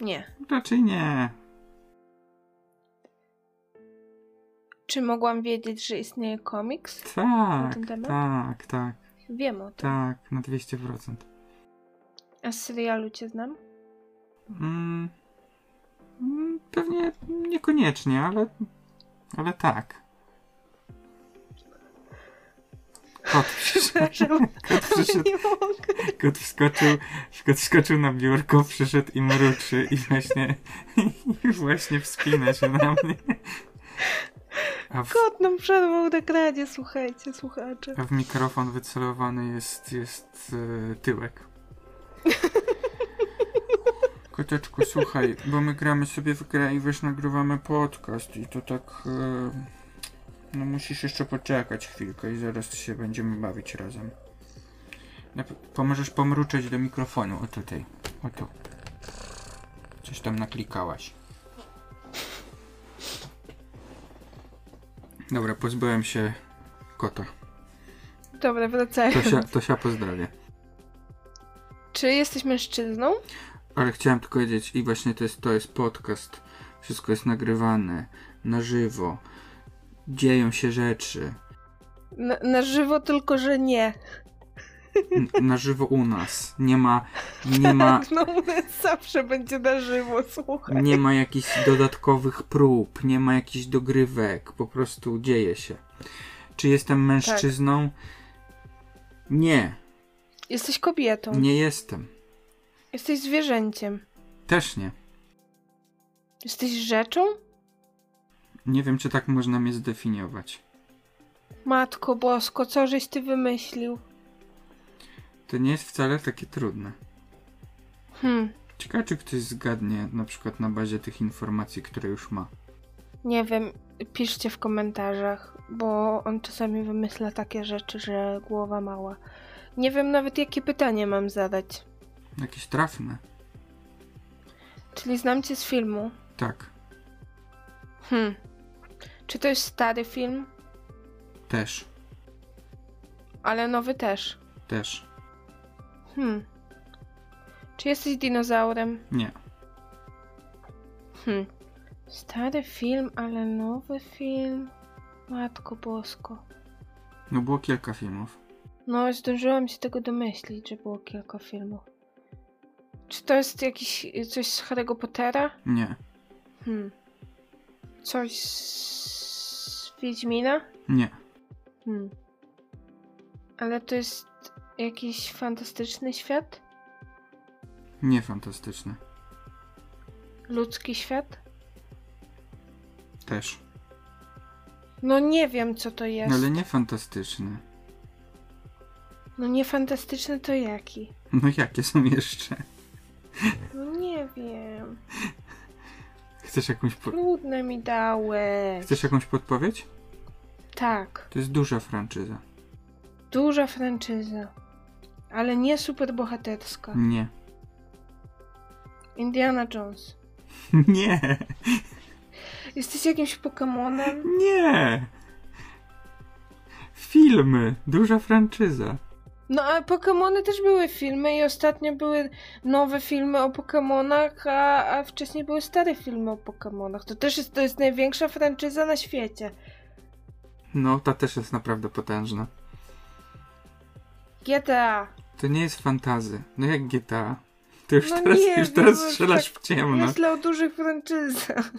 [SPEAKER 1] Nie.
[SPEAKER 2] raczej nie.
[SPEAKER 1] Czy mogłam wiedzieć, że istnieje komiks? Na
[SPEAKER 2] Tak.
[SPEAKER 1] ten temat?
[SPEAKER 2] Tak, tak,
[SPEAKER 1] Wiem o tym.
[SPEAKER 2] tak. Na 200%.
[SPEAKER 1] A z serialu cię znam?
[SPEAKER 2] Mm, mm, pewnie niekoniecznie, ale. Ale tak. Kot, przysz-
[SPEAKER 1] Przepraszam,
[SPEAKER 2] kot przyszedł.
[SPEAKER 1] nie mogę.
[SPEAKER 2] Kot wskoczył, kot wskoczył na biurko, przyszedł i mruczy i właśnie, i właśnie wspina się na mnie. A w,
[SPEAKER 1] Kot nam przerwał na kradzie, słuchajcie, słuchacze.
[SPEAKER 2] a w mikrofon wycelowany jest, jest e, tyłek. Koteczku, słuchaj, bo my gramy sobie w grę i wiesz, nagrywamy podcast i to tak... e, no musisz jeszcze poczekać chwilkę i zaraz się będziemy bawić razem. Na- Pomożesz pomruczeć do mikrofonu, o tutaj, o tu. Coś tam naklikałaś. Dobra, pozbyłem się kota.
[SPEAKER 1] Dobra, wracając.
[SPEAKER 2] Tosia, Tosia pozdrawia.
[SPEAKER 1] Czy jesteś mężczyzną?
[SPEAKER 2] Ale chciałem tylko powiedzieć, i właśnie to jest, to jest podcast. Wszystko jest nagrywane na żywo. Dzieją się rzeczy.
[SPEAKER 1] Na, na żywo tylko, że nie.
[SPEAKER 2] N- na żywo u nas. Nie ma, nie ma,
[SPEAKER 1] Tak, no u nas zawsze będzie na żywo, słuchaj.
[SPEAKER 2] nie ma jakichś dodatkowych prób, nie ma jakichś dogrywek. Po prostu dzieje się. Czy jestem mężczyzną? Nie,
[SPEAKER 1] Jesteś kobietą.
[SPEAKER 2] nie jestem.
[SPEAKER 1] Jesteś zwierzęciem.
[SPEAKER 2] Też nie.
[SPEAKER 1] Jesteś rzeczą?
[SPEAKER 2] Nie wiem, czy tak można mnie zdefiniować.
[SPEAKER 1] Matko Bosko, co żeś ty wymyślił?
[SPEAKER 2] To nie jest wcale takie trudne.
[SPEAKER 1] Hm,
[SPEAKER 2] Ciekawe, czy ktoś zgadnie na przykład na bazie tych informacji, które już ma.
[SPEAKER 1] nie wiem. Piszcie w komentarzach, bo on czasami wymyśla takie rzeczy, że głowa mała. Nie wiem nawet, jakie pytanie mam zadać.
[SPEAKER 2] Jakieś trafne.
[SPEAKER 1] Czyli znam cię z filmu.
[SPEAKER 2] Tak,
[SPEAKER 1] Hmm. Czy to jest stary film?
[SPEAKER 2] też,
[SPEAKER 1] Ale nowy też.
[SPEAKER 2] też.
[SPEAKER 1] Hmm. Czy jesteś dinozaurem?
[SPEAKER 2] Nie,
[SPEAKER 1] Hmm. Stary film, ale nowy film? Matko Bosko.
[SPEAKER 2] no było kilka filmów.
[SPEAKER 1] No, zdążyłam się tego domyślić, że było kilka filmów. Czy to jest jakiś coś z Harry'ego Pottera?
[SPEAKER 2] Nie,
[SPEAKER 1] Hmm. Coś z Wiedźmina?
[SPEAKER 2] nie.
[SPEAKER 1] Hmm. Ale to jest jakiś fantastyczny świat?
[SPEAKER 2] Nie fantastyczne.
[SPEAKER 1] Ludzki świat?
[SPEAKER 2] Też. No
[SPEAKER 1] No nie wiem, co to jest.
[SPEAKER 2] Ale nie fantastyczne.
[SPEAKER 1] No nie fantastyczny to jaki?
[SPEAKER 2] No jakie są jeszcze?
[SPEAKER 1] No nie wiem.
[SPEAKER 2] Chcesz jakąś, po...
[SPEAKER 1] Trudne mi dałeś.
[SPEAKER 2] Chcesz jakąś podpowiedź?
[SPEAKER 1] Tak.
[SPEAKER 2] To jest duża franczyza.
[SPEAKER 1] Duża franczyza. Ale nie superbohaterska.
[SPEAKER 2] Nie.
[SPEAKER 1] Indiana Jones.
[SPEAKER 2] Nie.
[SPEAKER 1] Jesteś jakimś Pokemonem?
[SPEAKER 2] Nie. Filmy. Duża franczyza.
[SPEAKER 1] No a Pokemony też były filmy i ostatnio były nowe filmy o Pokemonach, a, a wcześniej były stare filmy o Pokemonach. To też jest, to jest największa franczyza na świecie.
[SPEAKER 2] No, ta też jest naprawdę potężna.
[SPEAKER 1] GTA.
[SPEAKER 2] To nie jest fantazy. No jak GTA. To już
[SPEAKER 1] No
[SPEAKER 2] teraz,
[SPEAKER 1] nie
[SPEAKER 2] już
[SPEAKER 1] wiem,
[SPEAKER 2] teraz
[SPEAKER 1] bo już
[SPEAKER 2] strzelasz
[SPEAKER 1] tak
[SPEAKER 2] w ciemno.
[SPEAKER 1] Myślę o dużych franczyzach.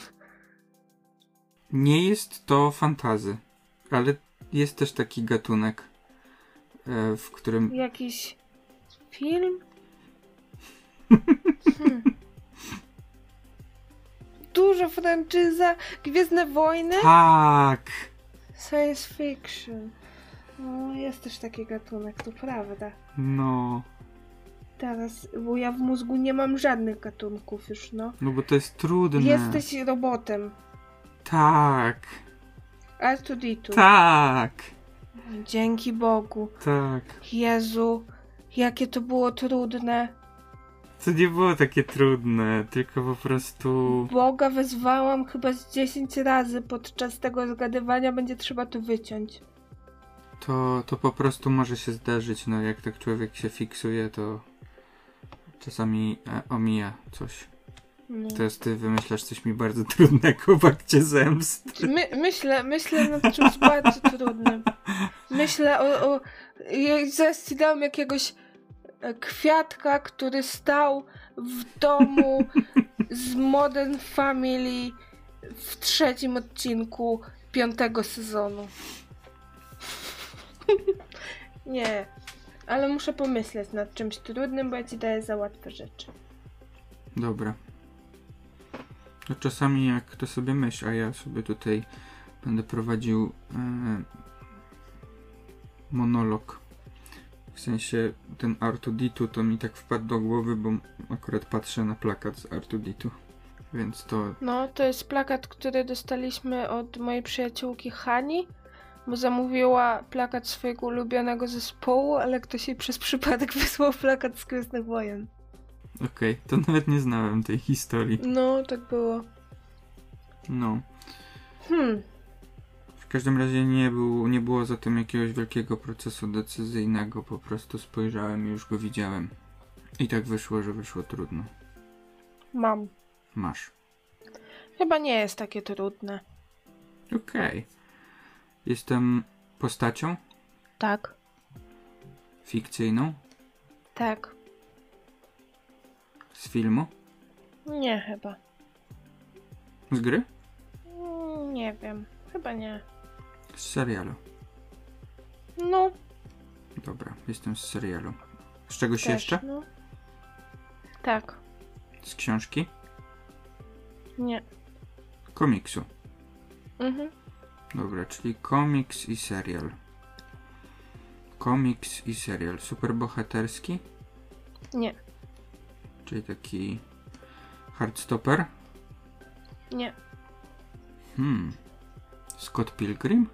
[SPEAKER 2] Nie jest to fantazy. Ale jest też taki gatunek, e, w którym
[SPEAKER 1] Jakiś film? Hmm. Duża franczyza, Gwiezdne Wojny,
[SPEAKER 2] Tak!
[SPEAKER 1] science fiction. No, jest też taki gatunek, to prawda.
[SPEAKER 2] No.
[SPEAKER 1] Teraz, bo ja w mózgu nie mam żadnych gatunków już, no.
[SPEAKER 2] No bo to jest trudne.
[SPEAKER 1] Jesteś robotem.
[SPEAKER 2] Tak.
[SPEAKER 1] Artuditu.
[SPEAKER 2] Tak.
[SPEAKER 1] Dzięki Bogu.
[SPEAKER 2] Tak.
[SPEAKER 1] Jezu, jakie to było trudne.
[SPEAKER 2] To nie było takie trudne, tylko po prostu.
[SPEAKER 1] Boga wezwałam chyba z 10 razy podczas tego zgadywania, będzie trzeba to wyciąć.
[SPEAKER 2] To, to po prostu może się zdarzyć. No jak tak człowiek się fiksuje, to czasami e, omija coś.
[SPEAKER 1] No.
[SPEAKER 2] Teraz ty wymyślasz coś mi bardzo trudnego w akcie zemst.
[SPEAKER 1] My, myślę, myślę nad czymś bardzo trudnym. Myślę o... o ja zaraz ci dam jakiegoś e, kwiatka, który stał w domu z Modern Family w trzecim odcinku piątego sezonu. Nie, ale muszę pomyśleć nad czymś trudnym, bo ja ci daję za łatwe rzeczy.
[SPEAKER 2] Dobra. No czasami jak kto sobie myśl, a ja sobie tutaj będę prowadził e, monolog. W sensie ten Artuditu to mi tak wpadł do głowy, bo akurat patrzę na plakat z Artuditu. Więc to
[SPEAKER 1] No, to jest plakat, który dostaliśmy od mojej przyjaciółki Hani, bo zamówiła plakat swojego ulubionego zespołu, ale ktoś jej przez przypadek wysłał plakat z Gwiezdnych Wojen.
[SPEAKER 2] okej, to nawet nie znałem tej historii.
[SPEAKER 1] No, tak było.
[SPEAKER 2] No.
[SPEAKER 1] Hmm,
[SPEAKER 2] W każdym razie nie, był, nie było za tym jakiegoś wielkiego procesu decyzyjnego, po prostu spojrzałem i już go widziałem. I tak wyszło, że wyszło trudno.
[SPEAKER 1] mam.
[SPEAKER 2] Masz.
[SPEAKER 1] Chyba nie jest takie trudne.
[SPEAKER 2] Okej. Jestem postacią
[SPEAKER 1] Tak,
[SPEAKER 2] fikcyjną
[SPEAKER 1] tak.
[SPEAKER 2] z filmu,
[SPEAKER 1] Nie, chyba.
[SPEAKER 2] z gry,
[SPEAKER 1] Mm, Nie wiem, chyba nie.
[SPEAKER 2] z serialu.
[SPEAKER 1] No,
[SPEAKER 2] Dobra, jestem z serialu. Z czegoś
[SPEAKER 1] też,
[SPEAKER 2] jeszcze?
[SPEAKER 1] no. Tak,
[SPEAKER 2] Z książki,
[SPEAKER 1] nie.
[SPEAKER 2] komiksu.
[SPEAKER 1] Mhm.
[SPEAKER 2] Dobra, czyli komiks i serial. Komiks i serial. Superbohaterski,
[SPEAKER 1] Nie,
[SPEAKER 2] czyli taki hardstopper.
[SPEAKER 1] nie,
[SPEAKER 2] Hmm. Scott Pilgrim?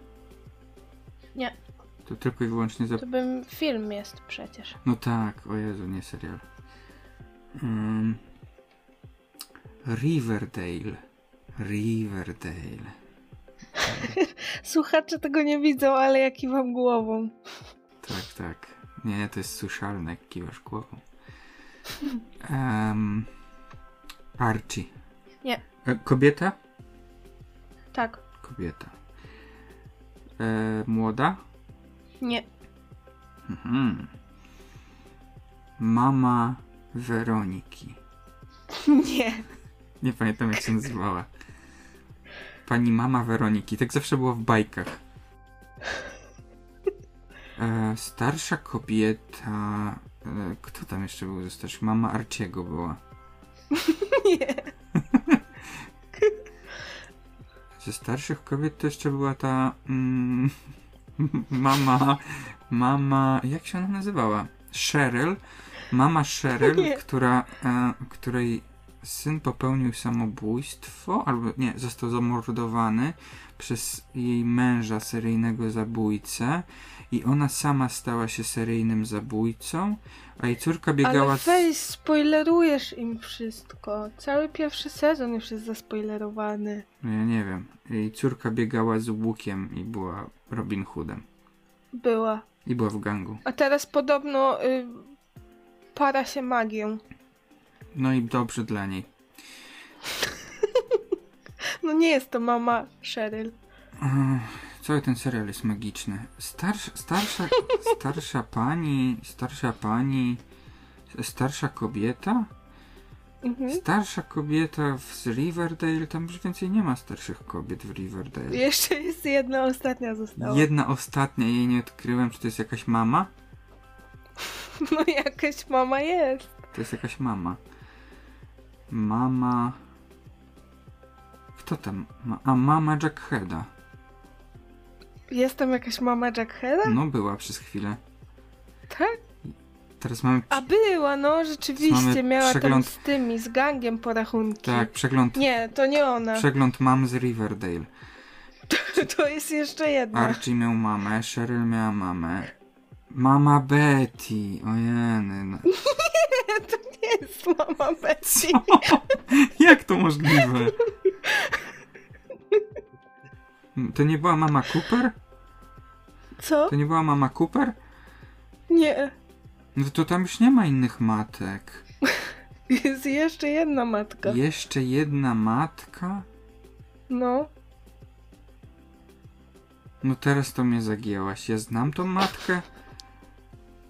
[SPEAKER 1] Nie.
[SPEAKER 2] To tylko i wyłącznie za
[SPEAKER 1] to bym film jest przecież.
[SPEAKER 2] No tak, o Jezu, nie serial. Ym, Riverdale. Riverdale.
[SPEAKER 1] Słuchacze tego nie widzą, ale ja kiwam głową.
[SPEAKER 2] Tak, tak. Nie, to jest suszalne, jak kiwasz głową. Em, Archie.
[SPEAKER 1] Nie.
[SPEAKER 2] E, kobieta?
[SPEAKER 1] Tak,
[SPEAKER 2] Kobieta. E, młoda?
[SPEAKER 1] nie,
[SPEAKER 2] Mhm. Mama Weroniki.
[SPEAKER 1] Nie.
[SPEAKER 2] Nie pamiętam jak się nazywała. Pani mama Weroniki. Tak zawsze było w bajkach. E, starsza kobieta. E, kto tam jeszcze był ze starszych? Mama Arciego była.
[SPEAKER 1] Nie.
[SPEAKER 2] Ze starszych kobiet to jeszcze była ta. Mm, mama. Mama. Jak się ona nazywała? Cheryl. Mama Cheryl,
[SPEAKER 1] Nie.
[SPEAKER 2] która, e, której syn popełnił samobójstwo, albo nie, został zamordowany przez jej męża, seryjnego zabójcę. I ona sama stała się seryjnym zabójcą, a jej córka biegała.
[SPEAKER 1] Ale weź, spoilerujesz im wszystko. Cały pierwszy sezon już jest zaspoilerowany.
[SPEAKER 2] Z... No Ja nie wiem. Jej córka biegała z łukiem i była Robin Hoodem.
[SPEAKER 1] Była.
[SPEAKER 2] I była w gangu.
[SPEAKER 1] A teraz podobno y, para się magią.
[SPEAKER 2] No i dobrze dla niej.
[SPEAKER 1] No nie jest to mama Cheryl.
[SPEAKER 2] Ech, Cały ten serial jest magiczny. Starsz, starsza, starsza pani, starsza pani, starsza kobieta?
[SPEAKER 1] Mhm.
[SPEAKER 2] Starsza kobieta w- z Riverdale, tam już więcej nie ma starszych kobiet w Riverdale.
[SPEAKER 1] Jeszcze jest jedna ostatnia została.
[SPEAKER 2] Jedna ostatnia, jej nie odkryłem, czy to jest jakaś mama?
[SPEAKER 1] No jakaś mama jest.
[SPEAKER 2] To jest jakaś mama. Mama... Kto tam? ma- A mama Jackheada.
[SPEAKER 1] Jest tam jakaś mama Jackheada?
[SPEAKER 2] No była przez chwilę.
[SPEAKER 1] Tak?
[SPEAKER 2] Teraz mamy...
[SPEAKER 1] A była, no
[SPEAKER 2] Mamy
[SPEAKER 1] rzeczywiście. Miała tam
[SPEAKER 2] przegląd-
[SPEAKER 1] z tymi, z gangiem porachunki.
[SPEAKER 2] Tak, przegląd
[SPEAKER 1] Nie, to nie ona.
[SPEAKER 2] Przegląd mam z Riverdale.
[SPEAKER 1] To jest jeszcze jedna.
[SPEAKER 2] Archie miał mamę, Cheryl miała mamę. Mama Betty, ojeny. No.
[SPEAKER 1] Nie, to nie jest mama Betsy.
[SPEAKER 2] Jak to możliwe? To nie była mama Cooper?
[SPEAKER 1] Co?
[SPEAKER 2] To nie była mama Cooper?
[SPEAKER 1] Nie.
[SPEAKER 2] No to tam już nie ma innych matek.
[SPEAKER 1] Jest jeszcze jedna matka.
[SPEAKER 2] Jeszcze jedna matka?
[SPEAKER 1] No.
[SPEAKER 2] No teraz to mnie zagięłaś. Ja znam tą matkę.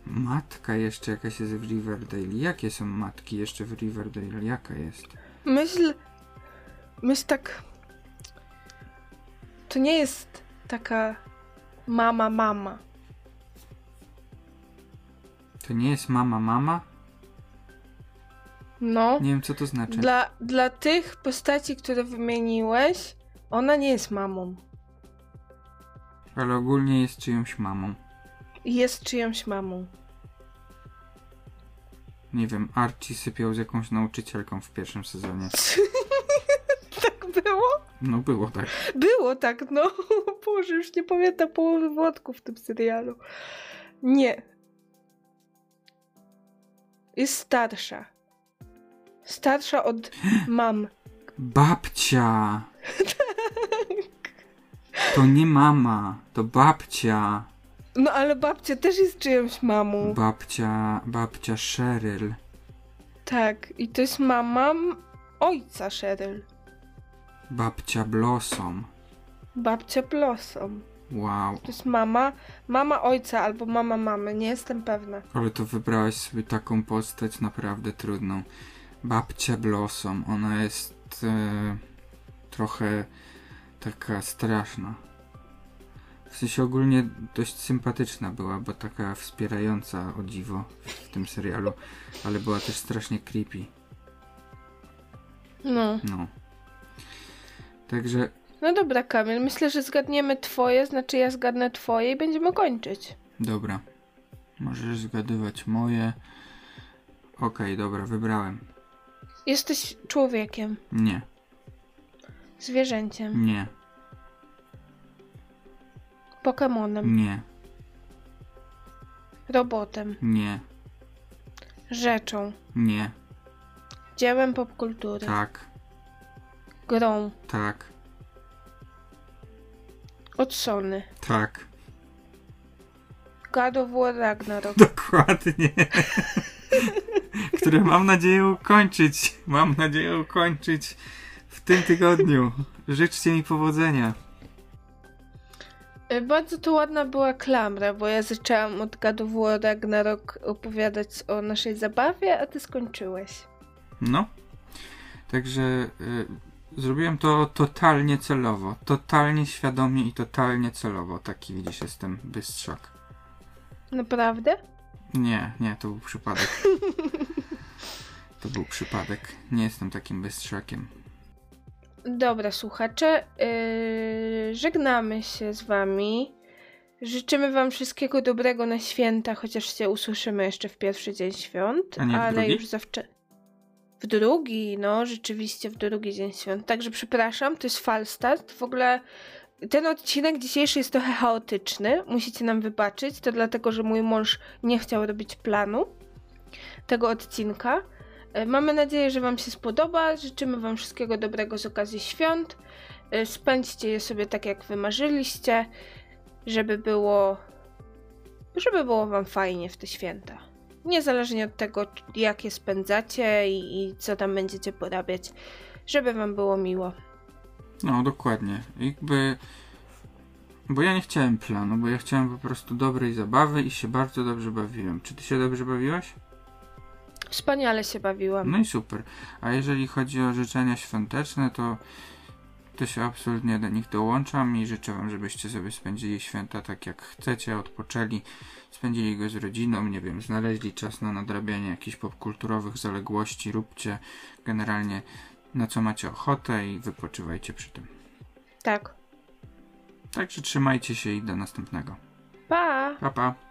[SPEAKER 2] Matka jeszcze jakaś jest w Riverdale. Jakie są matki jeszcze w Riverdale? Jaka jest?
[SPEAKER 1] Myśl. Myśl tak. To nie jest taka mama, mama.
[SPEAKER 2] To nie jest mama, mama?
[SPEAKER 1] No.
[SPEAKER 2] Nie wiem, co to znaczy.
[SPEAKER 1] Dla, dla tych postaci, które wymieniłeś, ona nie jest mamą.
[SPEAKER 2] Ale ogólnie jest czyjąś mamą.
[SPEAKER 1] Jest czyjąś mamą.
[SPEAKER 2] Nie wiem, Archie sypiał z jakąś nauczycielką w pierwszym sezonie.
[SPEAKER 1] tak było?
[SPEAKER 2] No było tak.
[SPEAKER 1] Było tak, no. Boże, już nie pamiętam połowy wątków w tym serialu. Nie. Jest starsza. Starsza od mam.
[SPEAKER 2] Babcia! To nie mama, to babcia.
[SPEAKER 1] No ale babcia też jest czyjąś mamą.
[SPEAKER 2] Babcia, babcia Cheryl.
[SPEAKER 1] tak, i to jest mama m- ojca Cheryl.
[SPEAKER 2] Babcia Blossom.
[SPEAKER 1] Babcia Blossom.
[SPEAKER 2] Wow,
[SPEAKER 1] To jest mama, mama ojca albo mama mamy, nie jestem pewna.
[SPEAKER 2] ale to wybrałaś sobie taką postać naprawdę trudną. Babcia Blossom, ona jest e, trochę taka straszna. W sensie ogólnie dość sympatyczna była, bo taka wspierająca o dziwo w tym serialu, ale była też strasznie creepy.
[SPEAKER 1] No.
[SPEAKER 2] No. Także
[SPEAKER 1] No dobra, Kamil, myślę, że zgadniemy twoje, znaczy ja zgadnę twoje i będziemy kończyć.
[SPEAKER 2] dobra. Możesz zgadywać moje. Okej, dobra, wybrałem.
[SPEAKER 1] Jesteś człowiekiem,
[SPEAKER 2] Nie,
[SPEAKER 1] zwierzęciem,
[SPEAKER 2] nie,
[SPEAKER 1] pokemonem,
[SPEAKER 2] nie,
[SPEAKER 1] robotem,
[SPEAKER 2] nie,
[SPEAKER 1] rzeczą,
[SPEAKER 2] nie.
[SPEAKER 1] dziełem popkultury,
[SPEAKER 2] Tak,
[SPEAKER 1] grą,
[SPEAKER 2] tak,
[SPEAKER 1] od Sony,
[SPEAKER 2] tak.
[SPEAKER 1] God of War Ragnarok.
[SPEAKER 2] Dokładnie. Które mam nadzieję ukończyć. Mam nadzieję ukończyć w tym tygodniu. Życzcie mi powodzenia.
[SPEAKER 1] Y, Bardzo to ładna była klamra, bo ja zaczęłam od God of War Ragnarok opowiadać o naszej zabawie, a ty skończyłeś.
[SPEAKER 2] No. Także y, zrobiłem to totalnie celowo, totalnie świadomie i totalnie celowo. Taki widzisz, jestem bystrzak.
[SPEAKER 1] Naprawdę?
[SPEAKER 2] Nie, nie, to był przypadek. To był przypadek. Nie jestem takim bystrzakiem.
[SPEAKER 1] Dobra, słuchacze, yy, żegnamy się z wami. Życzymy wam wszystkiego dobrego na święta, chociaż się usłyszymy jeszcze w pierwszy dzień świąt,
[SPEAKER 2] A nie w
[SPEAKER 1] ale
[SPEAKER 2] drugi?
[SPEAKER 1] już zawsze. W drugi, no, rzeczywiście w drugi dzień świąt. Także przepraszam, to jest falstart. W ogóle ten odcinek dzisiejszy jest trochę chaotyczny. Musicie nam wybaczyć. To dlatego, że mój mąż nie chciał robić planu tego odcinka. E, Mamy nadzieję, że Wam się spodoba. Życzymy Wam wszystkiego dobrego z okazji świąt. E, Spędźcie je sobie tak, jak wymarzyliście, żeby było, żeby było Wam fajnie w te święta. Niezależnie od tego, c- jak je spędzacie i, i co tam będziecie porabiać, żeby Wam było miło.
[SPEAKER 2] No, dokładnie. Jakby. Bo ja nie chciałem planu, bo ja chciałem po prostu dobrej zabawy i się bardzo dobrze bawiłem. Czy ty się dobrze bawiłaś?
[SPEAKER 1] Wspaniale się bawiłam.
[SPEAKER 2] No i super. A jeżeli chodzi o życzenia świąteczne, to, to się absolutnie do nich dołączam i życzę Wam, żebyście sobie spędzili święta tak jak chcecie, odpoczęli, spędzili go z rodziną, nie wiem, znaleźli czas na nadrabianie jakichś popkulturowych zaległości, róbcie generalnie na co macie ochotę i wypoczywajcie przy tym.
[SPEAKER 1] Tak.
[SPEAKER 2] Także trzymajcie się i do następnego.
[SPEAKER 1] Pa!
[SPEAKER 2] Pa, pa.